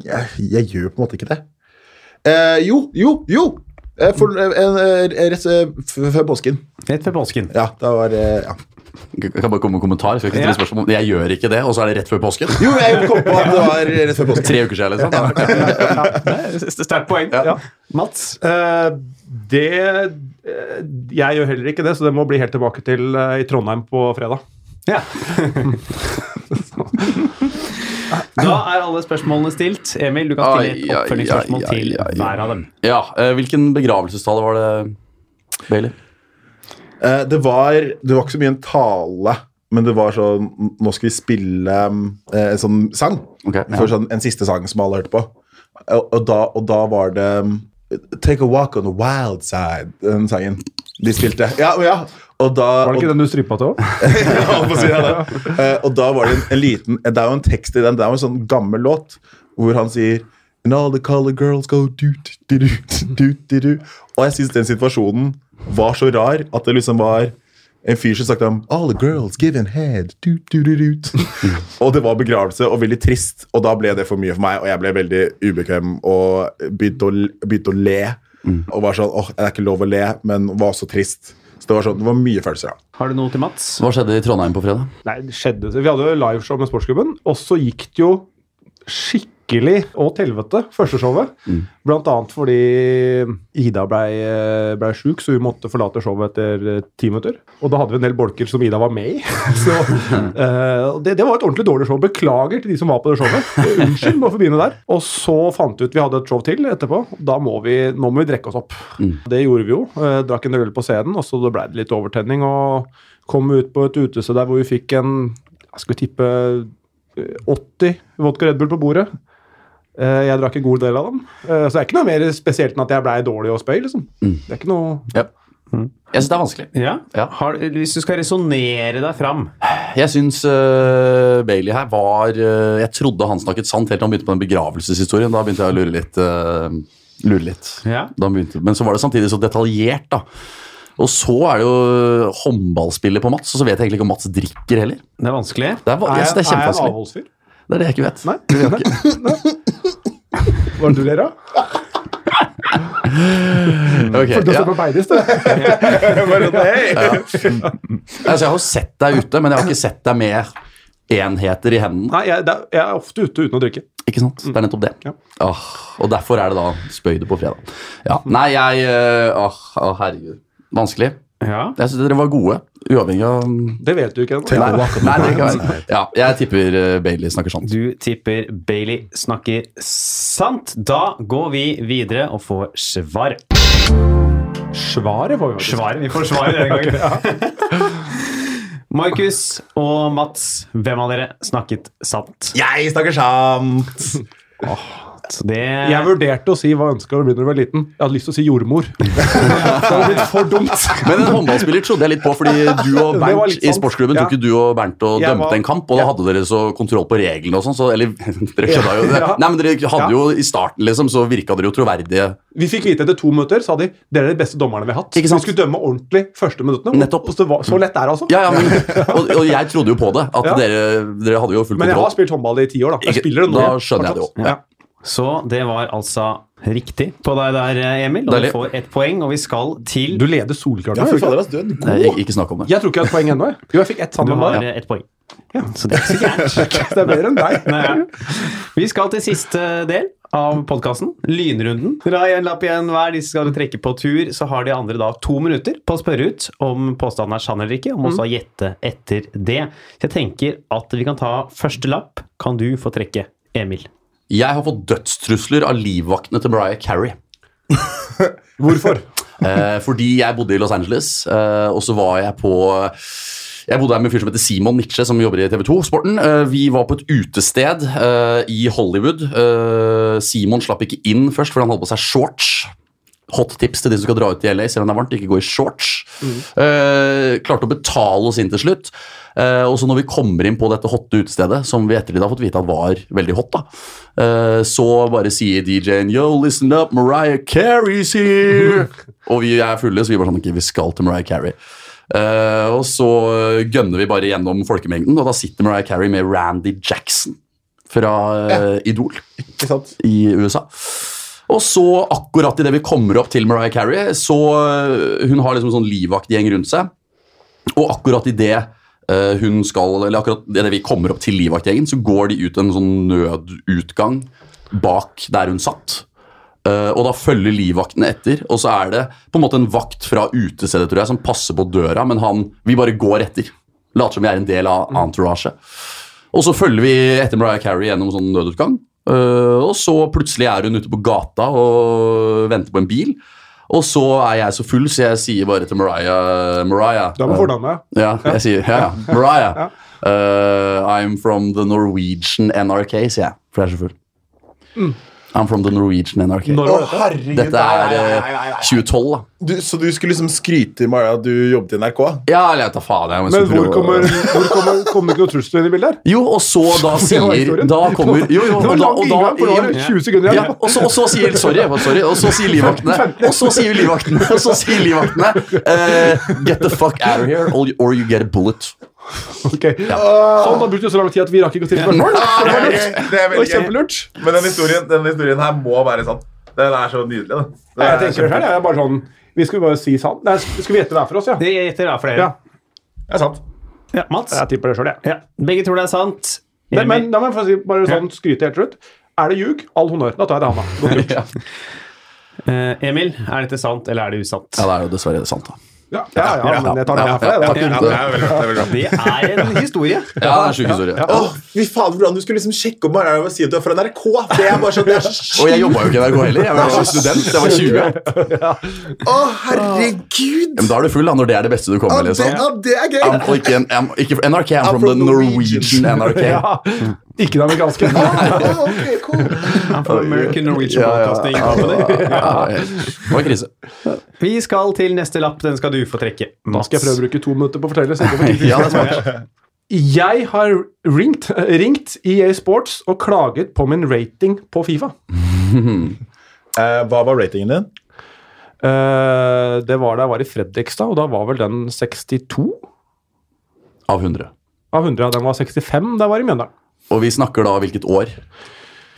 B: Jeg, jeg gjør på en måte ikke det. Eh, jo, jo, jo! Eh, for, eh, en, eh, rett eh, f- før påsken.
D: Rett før påsken.
B: Ja, da var eh, ja.
E: Jeg kan bare komme med en kommentar. Skal jeg, ikke stille spørsmål. jeg gjør ikke det, og så er det rett før påsken.
B: Jo, jeg kom på at det var rett før påsken.
E: Tre uker siden, liksom.
D: Sterkt poeng.
E: Ja.
D: Mats?
C: Eh, det eh, Jeg gjør heller ikke det, så det må bli helt tilbake til eh, i Trondheim på fredag.
D: Ja. da er alle spørsmålene stilt. Emil, du kan stille et
E: Ai, ai,
D: oppfølgingsspørsmål
E: ai, ai,
D: til
E: ai.
D: hver av dem.
E: Ja, eh, Hvilken begravelsestale var det, Bailey?
B: Eh, det, var, det var ikke så mye en tale, men det var sånn Nå skal vi spille eh, en sånn sang.
E: Ok, ja.
B: For sånn, en siste sang som alle hørte på. Og, og, da, og da var det mm, Take a walk on the wild side, den sangen de spilte. Ja, og ja. Og da,
C: Var det
B: og-
C: ikke den du strypa til òg?
B: ja, holdt på å si det, da. Eh, og da var det en, en liten eh, Det er jo en tekst i den, det er jo en sånn gammel låt hvor han sier And all the color girls go doot, doot, doot, doot. Og jeg syns den situasjonen var så rar at det liksom var en fyr som snakket om All the girls give an head doot, doot, doot, doot. Og det var begravelse og veldig trist, og da ble det for mye for meg. Og jeg ble veldig ubekvem og begynte å, begynte å le. Og var sånn åh, det er ikke lov å le, men var også trist. Så det var sånn, det var mye følelser. da.
D: Har du noe til Mats?
E: Hva skjedde i Trondheim på fredag?
C: Nei, det skjedde Vi hadde jo liveshow med sportsklubben, og så gikk det jo skikkelig å til helvete, første showet. Blant annet fordi Ida blei ble sjuk, så hun måtte forlate showet etter eh, ti minutter. Og da hadde vi en del bolker som Ida var med i. Så, eh, og det, det var et ordentlig dårlig show. Beklager til de som var på det showet. Eh, Unnskyld, må få begynne der. Og så fant vi ut vi hadde et show til etterpå. Da må vi, nå må vi drekke oss opp. Det gjorde vi jo. Eh, Drakk en øl på scenen, og så blei det litt overtenning. og kom ut på et utested der hvor vi fikk en jeg skulle tippe eh, 80 vodka Red Bull på bordet. Eh, Jeg drakk en god del av dem. Eh, Så det er ikke noe mer spesielt enn at jeg blei dårlig og spøy. liksom.
E: Mm.
C: Det er ikke noe...
E: Ja. Jeg syns det er vanskelig.
D: Ja?
E: Ja.
D: Har, hvis du skal resonnere deg fram
E: Jeg syns Bailey her var eh, Jeg trodde han snakket sant helt til han begynte på den begravelseshistorien. Da begynte jeg å lure litt. eh, lure litt.
D: Ja.
E: Da han begynte. Men så var det samtidig så detaljert, da. Og så er det jo håndballspillet på Mats, og så vet jeg egentlig ikke om Mats drikker heller.
D: Det er vanskelig.
E: Det er, va- jeg synes det er
C: jeg en
E: kjempevanskelig.
C: avholdsfyr?
E: Det er det jeg ikke vet.
C: Nei. Hva er det du ler av?
E: Ok,
C: Du
E: ja.
C: ser på Beides, du.
E: Altså, jeg har jo sett deg ute, men jeg har ikke sett deg med enheter i hendene.
C: Nei, jeg, det er, jeg er ofte ute uten å drikke.
E: Ikke sant? Det er nettopp det.
C: Ja.
E: Åh, og derfor er det da spøyde på fredag. Ja. Nei, jeg eh, Åh, åh, herregud. Vanskelig.
D: Ja.
E: Jeg syns dere var gode, uavhengig av Nei,
C: Det vet du ikke ennå.
E: nei, det kan være. Ja, jeg tipper eh, Bailey snakker sant.
D: Du tipper Bailey snakker sant. Da går vi videre og får svar.
C: Svaret får vi faktisk.
D: Svaret. Vi får svaret denne gangen. Markus og Mats, hvem av dere snakket sant?
B: Jeg snakker sant!
D: Det
C: Jeg vurderte å si hva jeg ønska å bli når jeg var liten. Jeg hadde lyst til å si jordmor. Det hadde blitt for dumt.
E: Men en håndballspiller trodde jeg litt på, fordi du og
C: Det var litt
E: Bernt i
C: sant.
E: sportsklubben tok
C: Ja.
E: jo du og Bernt og
C: Jeg var-
E: dømte en kamp, og da hadde dere så kontroll på reglene og sånn, så Eller dere skjønna jo det.
C: Ja.
E: Nei, men dere
C: Ja.
E: hadde jo i starten, liksom, så virka dere jo troverdige.
C: Vi fikk vite etter to minutter, sa de. Dere er de beste dommerne vi har hatt.
E: Ikke sant?
C: Vi skulle dømme ordentlig første minuttene. og-
E: Nettopp.
C: og Så, det var, så lett er det, altså.
E: Ja, ja, men, og, og jeg trodde jo på det, at
C: Ja.
E: dere, dere hadde jo full
C: Men jeg har
E: kontroll.
C: spilt håndball i ti år, da. Jeg
E: Ikke-
C: spiller det nå.
E: da skjønner jeg det jo.
C: fortsatt. Ja.
D: Så det var altså riktig på deg der, Emil. Og
E: Deilig.
D: du får ett poeng, og vi skal til
C: Du leder soleklart.
B: Ja,
C: gjør
B: fy
C: du ikke
B: fader,
C: det?
B: ass, du er
E: Nei,
B: god.
E: ikke, ikke snakk om det.
C: Jeg tror ikke jeg har et poeng ennå. jeg. Jo, jeg fikk ett
D: Du
C: sammen med
D: har
C: deg.
D: ett poeng. Så det er ikke så gærent.
C: Det er bedre enn deg.
D: Nei, ja. Vi skal til siste del av podkasten, lynrunden. Dere har en lapp igjen hver. De skal trekke på tur. Så har de andre da to minutter på å spørre ut om påstanden er sann eller ikke. Om også å gjette etter det. Så jeg tenker at vi kan ta første lapp. Kan du få trekke, Emil?
E: Jeg har fått dødstrusler av livvaktene til Mariah Carey.
C: Hvorfor?
E: Eh, fordi jeg bodde i Los Angeles, eh, og så var jeg på jeg bodde her med en fyr som heter Simon Nitsche, som jobber i TV 2-sporten. Eh, Vi var på et utested eh, i Hollywood. Eh, Simon slapp ikke inn først, for han hadde på seg shorts. Hot tips til de som skal dra ut i LA, selv om det er varmt. Ikke gå i shorts. Eh, klarte å betale oss inn til slutt. Eh, og så når vi kommer inn på dette hotte utestedet, som vi ettertid har fått vite at var veldig hot, da, eh, så bare sier DJ-en Yo, listen up, Mariah Carey's here! og vi er fulle, så vi bare sånn Ok, vi skal til Mariah Carey. Eh, og så eh, gønner vi bare gjennom folkemengden, og da sitter Mariah Carey med Randy Jackson. fra eh, Idol
B: Ikke sant?
E: i USA. Og så, akkurat idet vi kommer opp til Mariah Carey, så øh, Hun har liksom sånn livaktig gjeng rundt seg. Og akkurat idet øh, hun skal Eller akkurat idet vi kommer opp til livvaktgjengen, så går de ut en sånn nødutgang bak der hun satt. Eh, og da følger livvaktene etter, og så er det på en måte en vakt fra utestedet tror jeg, som passer på døra, men han Vi bare går etter. Later som vi er en
C: Mm.
E: del av entouraget. Og så følger vi etter Mariah Carey gjennom sånn nødutgang. Eh, og så plutselig er hun ute på gata og venter på en bil. Og så er jeg så full, så jeg sier bare til Mariah Mariah,
C: Da må
E: eh,
C: fornavne.
E: ja, jeg sier ja, ja. Mariah. eh, I'm from the Norwegian NRK, sier jeg, for jeg er så full.
C: Mm.
E: I'm from the Norwegian NRK.
C: Når
B: Å,
C: var dette?
B: herregud.
E: Dette er
B: nei, nei,
E: eh,
B: nei, nei, nei.
E: 2012, da.
B: Du, Så du skulle liksom skryte Maja, at du jobbet i NRK?
E: Ja, eller jeg tar faen. Jeg må
C: Men hvor
E: liksom prøve å-
C: kommer, hvor kommer, kommer ikke noe trussel inn i bildet her?
E: Jo, og så da
C: var
E: sier
C: historien.
E: Da kommer Jo, jo,
C: Det
E: og
C: var
E: da,
C: lang
E: og
C: inngang, for det var
E: da
C: 20 sekunder
E: ja,
C: igjen.
E: og, så, og så sier Sorry, jeg var sorry. Og så sier livvaktene Og så sier livvaktene Og så sier livvaktene eh, Get the fuck out of here, or you- or you get a bullet.
C: Ok. Sånn, da brukte vi så lang tid at vi rakk ikke å stille spørsmål.
B: Det er,
C: Det var kjempelurt.
B: Men den historien, den historien her må være sånn. Den er så nydelig. Da. Den
C: Nei, jeg
B: er
C: tenker det
B: kjempe-
C: selv, jeg er bare sånn Vi skulle bare si sant. Nei, skal vi gjette hver for oss, ja?
D: Det gjetter jeg for dere.
C: Ja. Det er sant.
D: Ja, Mats?
C: Jeg tipper det sjøl, jeg.
D: Ja. Begge tror det er sant.
C: Men, men da må jeg få si, bare sånn skryte helt til slutt. Er det ljug? All honnør. Da tar jeg det han, da. Godt gjort.
E: Ja.
D: Eh, Emil, er dette sant eller er det usant?
E: ja, det er jo dessverre sant, da.
C: Ja, ja, ja,
E: Ja,
C: men jeg tar det her for deg. Det var ikke-
B: Ja, det er veldig bra, det er veldig bra.
D: Det er en historie.
E: Ja, det er en sjuk historie.
B: Åh, fy faen, hvordan du skulle liksom sjekke om Maja og si at du er fra NRK! Det er bare sånn, det er så
E: Og
B: sjukt!
E: jeg jobba jo ikke i NRK heller. Jeg var jo student. Jeg var 20.
B: Å, herregud!
E: Men da er du full, da, når det er det beste du
B: Ja,
E: kommer med.
B: det,
E: Liksom.
B: ja, det er
E: I'm,
B: greit!
E: ikke, en- I'm, ikke fra NRK, I'm from the Norwegian NRK.
C: Ja. Ikke det amerikanske.
B: Ah, ok, cool.
D: American Norwegian
E: Ja, ja.
D: Broadcasting Company.
E: Ja, ja. Det var krise.
D: Vi skal til neste lapp. Den skal du få trekke.
C: Da skal jeg prøve å bruke to minutter på å fortelle. så jeg ikke får tid til-
E: Ja, det er smart.
C: Jeg har ringt, ringt EA Sports og klaget på min rating på Fifa.
B: Eh, hva var ratingen din?
C: Eh, det var da jeg var i Fredrikstad, og da var vel den 62
E: Av 100.
C: av 100. ja. Den var 65 da jeg var i Mjøndalen.
E: Og vi snakker da hvilket år?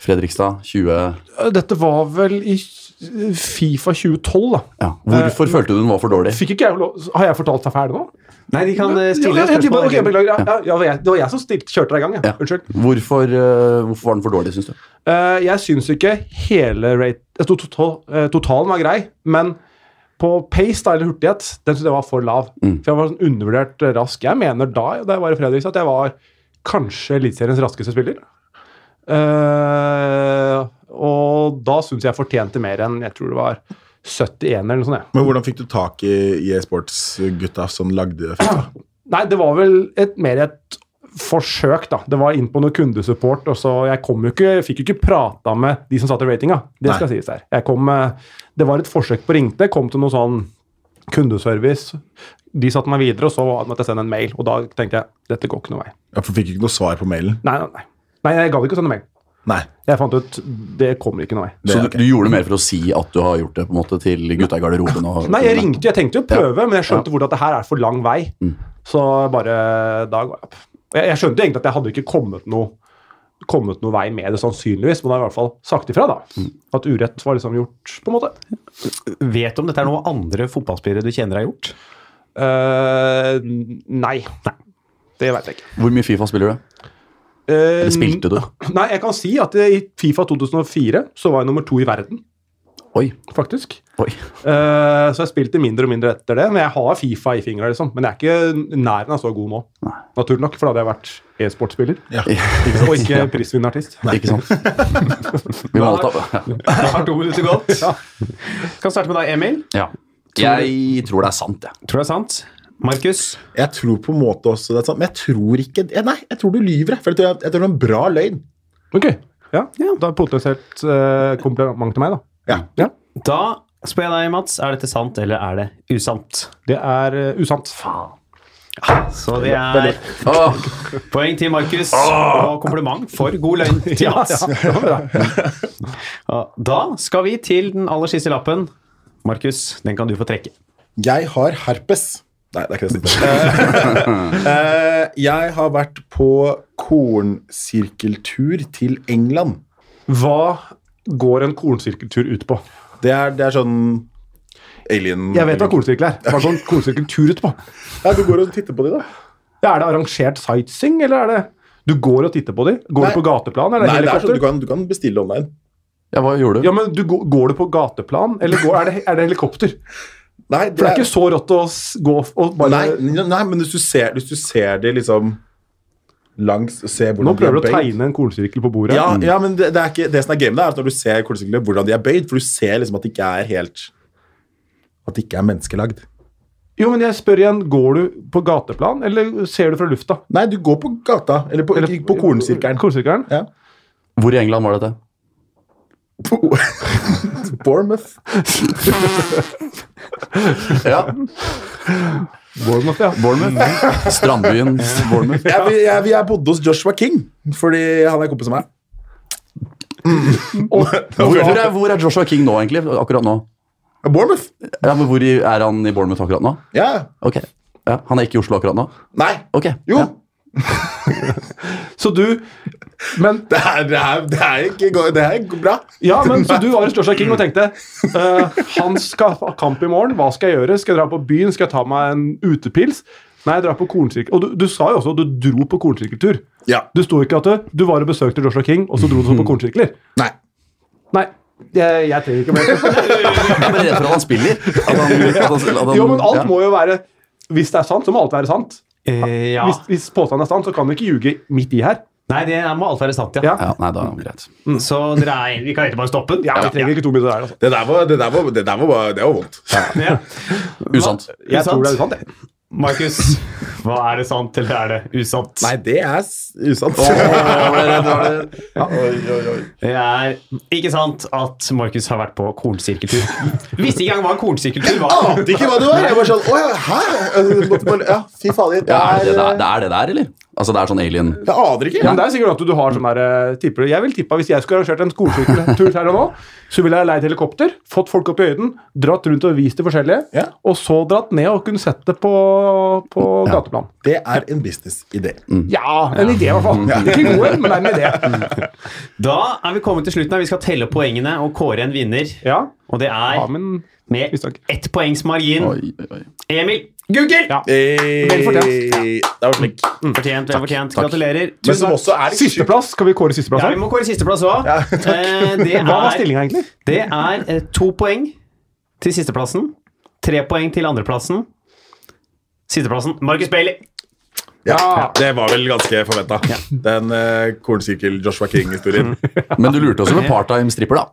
E: Fredrikstad 20
C: Eh, Dette var vel i eh, Fifa 2012, da.
E: ja. Hvorfor følte du den var for dårlig?
C: Fikk ikke jeg lov Har jeg fortalt deg ferdig nå?
D: Nei, de kan eh, stille
C: Ja, jeg tipper-
D: spørsmål.
C: ok, beklager. Ja, ja, ja, det var jeg- det var jeg som stilte, kjørte deg i gang. Ja.
E: Ja.
C: Unnskyld.
E: Hvorfor, eh, hvorfor var den for dårlig, syns du?
C: Eh, jeg syns ikke hele rate, jeg tror total, eh, totalen var grei, men på pace da, eller hurtighet den synes jeg var for lav. For jeg var sånn undervurdert eh, rask. Jeg mener da da jeg var i Fredrikstad, at jeg var kanskje Eliteseriens raskeste spiller. Eh, og da syns jeg jeg fortjente mer enn jeg tror det var 71 eller noe sånt. jeg.
B: Men hvordan fikk du tak i e-sports-gutta som lagde FIFA?
C: Nei, det var vel et, mer et forsøk, da. Det var inn på noe kundesupport, og så jeg kom jo ikke, fikk jo ikke prata med de som satt i ratinga. Det skal sies der. Jeg kom, eh, det var et forsøk på ringte, kom til noe sånn kundeservice. De satte meg videre, og så måtte jeg sende en mail. Og da tenkte jeg dette går ikke noe vei.
B: Jeg fikk ikke noe svar på mailen.
C: Nei, nei, nei. nei jeg gadd ikke å sende mail.
B: Nei.
C: Jeg fant ut det kommer ikke noe vei.
E: Så
B: er
E: du,
B: ok.
E: du gjorde det mer for å si at du har gjort det på en måte til gutta i garderoben? Og,
C: Nei, jeg ringte, jeg tenkte jo å prøve, men jeg skjønte fort at det her er for lang vei. Så bare da går jeg opp. Jeg, jeg skjønte egentlig at jeg hadde ikke kommet noe, kommet noe vei med det, sannsynligvis, men da har jeg i hvert fall sagt ifra, da. At urett var liksom gjort, på en måte.
D: Vet du om dette er noe andre fotballspillere du kjenner har gjort?
C: Eh, nei. Det veit jeg ikke.
E: Hvor mye Fifa spiller du?
C: Eh,
E: Eller spilte du?
C: Nei, jeg kan si at i Fifa 2004 så var jeg nummer to i verden,
E: Oi.
C: faktisk.
E: Oi.
C: Eh, så jeg spilte mindre og mindre etter det. Men jeg har Fifa i fingra, liksom. Men jeg er ikke i nærheten av så god nå. Naturlig nok, for da hadde jeg vært e-sportspiller.
B: Ja.
C: Og ikke prisvinnerartist.
E: Ikke sant? Vi må alle ta
D: Har to minutter gått. Kan starte med deg, Emil.
E: ja. Jeg tror det er sant, jeg.
D: Tror det er sant. Markus?
B: Jeg tror på en måte også det er sant, men jeg tror ikke jeg- Nei, jeg tror du lyver. jeg, For jeg tror, jeg tror det er en bra løgn.
C: Ok, ja. Da er potensielt eh, kompliment til meg, da.
B: Ja.
D: Da spør jeg deg, Mats. Er dette sant eller er det usant?
C: Det er eh, usant.
D: Så det er
E: Åh,
D: poeng til Markus og kompliment for god løgn til
C: Ja,
D: Mats.
C: ja, det var bra.
D: Da skal vi til den aller siste lappen. Markus, den kan du få trekke.
B: Jeg har herpes. Nei, det er ikke det. jeg sitter på. Eh, eh, jeg har vært på kornsirkeltur til England.
C: Hva går en kornsirkeltur ut på?
B: Det er, det er sånn alien
C: Jeg vet hva kornsirkel er. Hva går en kornsirkeltur ut på?
B: Ja, Du går og titter på de, da.
C: Ja, Er det arrangert sightseeing, eller er det Du går og titter på dem? Går
B: Nei.
C: du på gateplan? Er det
B: Nei, det er
C: helikopter?
B: sånn, du, kan, du kan bestille online.
E: Ja, hva gjorde du?
C: Ja, men du, går- går du på gateplan, eller går, er, det, er det helikopter?
B: Nei,
C: For det er ikke så rått å s- gå f- og bare
B: nei, nei, men hvis du ser, hvis du ser de liksom langs se hvordan
C: Nå prøver du
B: de er
C: å
B: bøyd.
C: tegne en kornsirkel på bordet.
B: Ja, ja, men det, det, er ikke, det som er gamet, er at når du ser kornsyklene, hvordan de er bøyd, for du ser liksom at det ikke er helt At det ikke er menneskelagd.
C: Jo, men jeg spør igjen, går du på gateplan, eller ser du fra lufta?
B: Nei, du går på gata, eller på,
C: Eller,
B: ikke på kornsirkelen.
C: Kornsirkelen?
B: Ja.
E: Hvor i England var dette?
B: På- Bournemouth.
E: Ja,
C: Bournemouth, ja.
E: Bournemouth. Strandbyen Bournemouth.
B: Jeg, vi- jeg, vi- jeg bodde hos Joshua King, fordi han er kompis av meg.
E: Hvor, hvor, er, hvor er Joshua King nå, egentlig? Akkurat nå?
B: Bournemouth?
E: Ja, men Hvor i- er han i Bournemouth akkurat nå?
B: Ja.
E: Ok. Ja, han er ikke i Oslo akkurat nå?
B: Nei.
E: Ok.
B: Jo.
E: Ja.
C: Så du Men
B: Det er, det, er, det er ikke go- Det er bra.
C: Ja, men så du var hos Joshua King og tenkte eh, Han skal ha kamp i morgen, hva skal jeg gjøre? Skal jeg dra på byen? Skal jeg ta meg en utepils? Nei, jeg drar på kornsirkel. Og du, du sa jo også at du dro på kornsirkeltur.
B: Ja.
C: Du sto ikke at du, du var og besøkte Joshua King, og så dro du på kornsirkler.
B: Nei.
C: Nei, jeg, jeg trenger ikke mer.
E: Jeg er redd for at han spiller. At han, at han, at han,
C: Jo, men alt
E: ja.
C: må jo være Hvis det er sant, så må alt være sant.
D: Eh, ja.
C: Hvis, hvis påstanden er sann, så kan du ikke ljuge midt i her.
D: Nei, det må alt være sant,
C: Ja.
D: ja.
E: ja, Nei, da er det greit.
D: Så dere er egentlig kan egentlig bare stoppe den.
C: Ja, vi trenger ikke to minutter der, altså.
B: Det der var, det der var, det der var, bare- det var vondt.
D: Ja.
E: Usant.
C: Jeg
D: Sant.
C: tror det er sant, jeg.
D: Markus, hva er det sant, eller er det usant?
B: Nei, det er s- usant.
D: Det er ikke sant at Markus har vært på kornsirkeltur. Ah! Visste ikke engang hva en kornsirkeltur var.
B: Ante ikke hva det var. Jeg var sånn Å ja, hæ? Altså, måtte bare- Ja, fy fader. Det
E: Ja, er det,
B: er
E: der,
B: eh,
E: det er det der, eller? Altså, det er sånn alien
B: Jeg aner ikke.
C: Men det er sikkert at du, du har sånn der eh, tipper du- Jeg vil tippe at hvis jeg skulle arrangert en skolesykkeltur her og nå, så ville jeg leid helikopter, fått folk opp i høyden, dratt rundt og vist det forskjellige,
B: Ja.
C: og så dratt ned og kunne sett det på, på gateplan.
B: Det er en businessidé.
C: Mm. Ja, Mm. en idé i hvert fall. Ikke god en, men det er en idé.
D: Da er vi kommet til slutten. her. Vi skal telle opp poengene og kåre en vinner.
C: Ja,
D: Og det
C: ja
D: er
C: men
D: med
C: visst takk.
D: ett poengs margin.
E: Oi, oi, oi.
D: Emil Google!
C: Ja.
B: Vel
C: fortjent.
B: Eh, Det var flink.
D: Mm. Fortjent, vel fortjent. Gratulerer.
B: Men
D: Tusen
B: som
D: takk.
B: også er sjukt.
C: Sisteplass. Skal vi kåre sisteplass
D: Ja,
C: her?
D: vi må kåre sisteplass òg. Eh, det
C: Hva var
D: er,
C: stillinga, egentlig?
D: det er eh, to poeng til sisteplassen. Tre poeng til andreplassen. Sisteplassen Markus Bailey.
B: Ja, det var vel ganske forventa. Den eh, kornsirkel-Joshua King-historien.
E: Men du lurte også med part-time-stripper, da.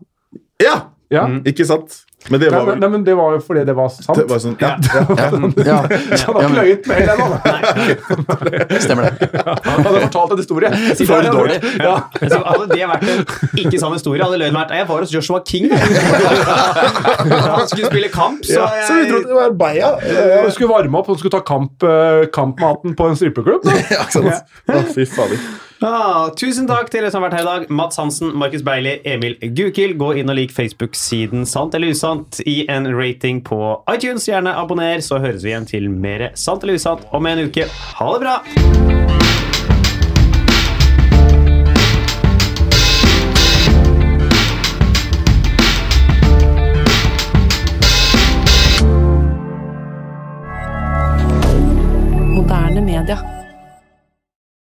B: Ja,
C: Ja.
B: ikke sant? Men det
C: Nei,
B: var
C: Mm. nei,
B: vel
C: nei, men Det var jo fordi det var sant.
B: det var sånn, ja,
E: Ja, ja.
C: Han har
E: Ja,
C: ikke
E: men-
C: løyet mer enn han. da.
E: Stemmer det.
C: Han hadde fortalt en historie.
E: For dårlig.
C: Ja.
D: Altså, hadde det vært en ikke sann historie, hadde løgnen vært «Nei, Jeg var hos Joshua King. Han skulle spille kamp, så eh,
B: ja. Så vi
D: jeg
B: trodde det var Beia.
C: Ja, Du skulle varme opp og du skulle ta kamp, eh, kampmaten på en strippeklubb. da.
B: Ja, ikke sant? Å, fy fader.
D: ah, Tusen takk til dere som har vært her i dag. Mats Hansen, Markus Beili, Emil Gukild. Gå inn og lik Facebook-siden Sant eller usant i en rating på iTunes. Gjerne abonner, så høres vi igjen til mer Sant eller usant om en uke. Ha det bra!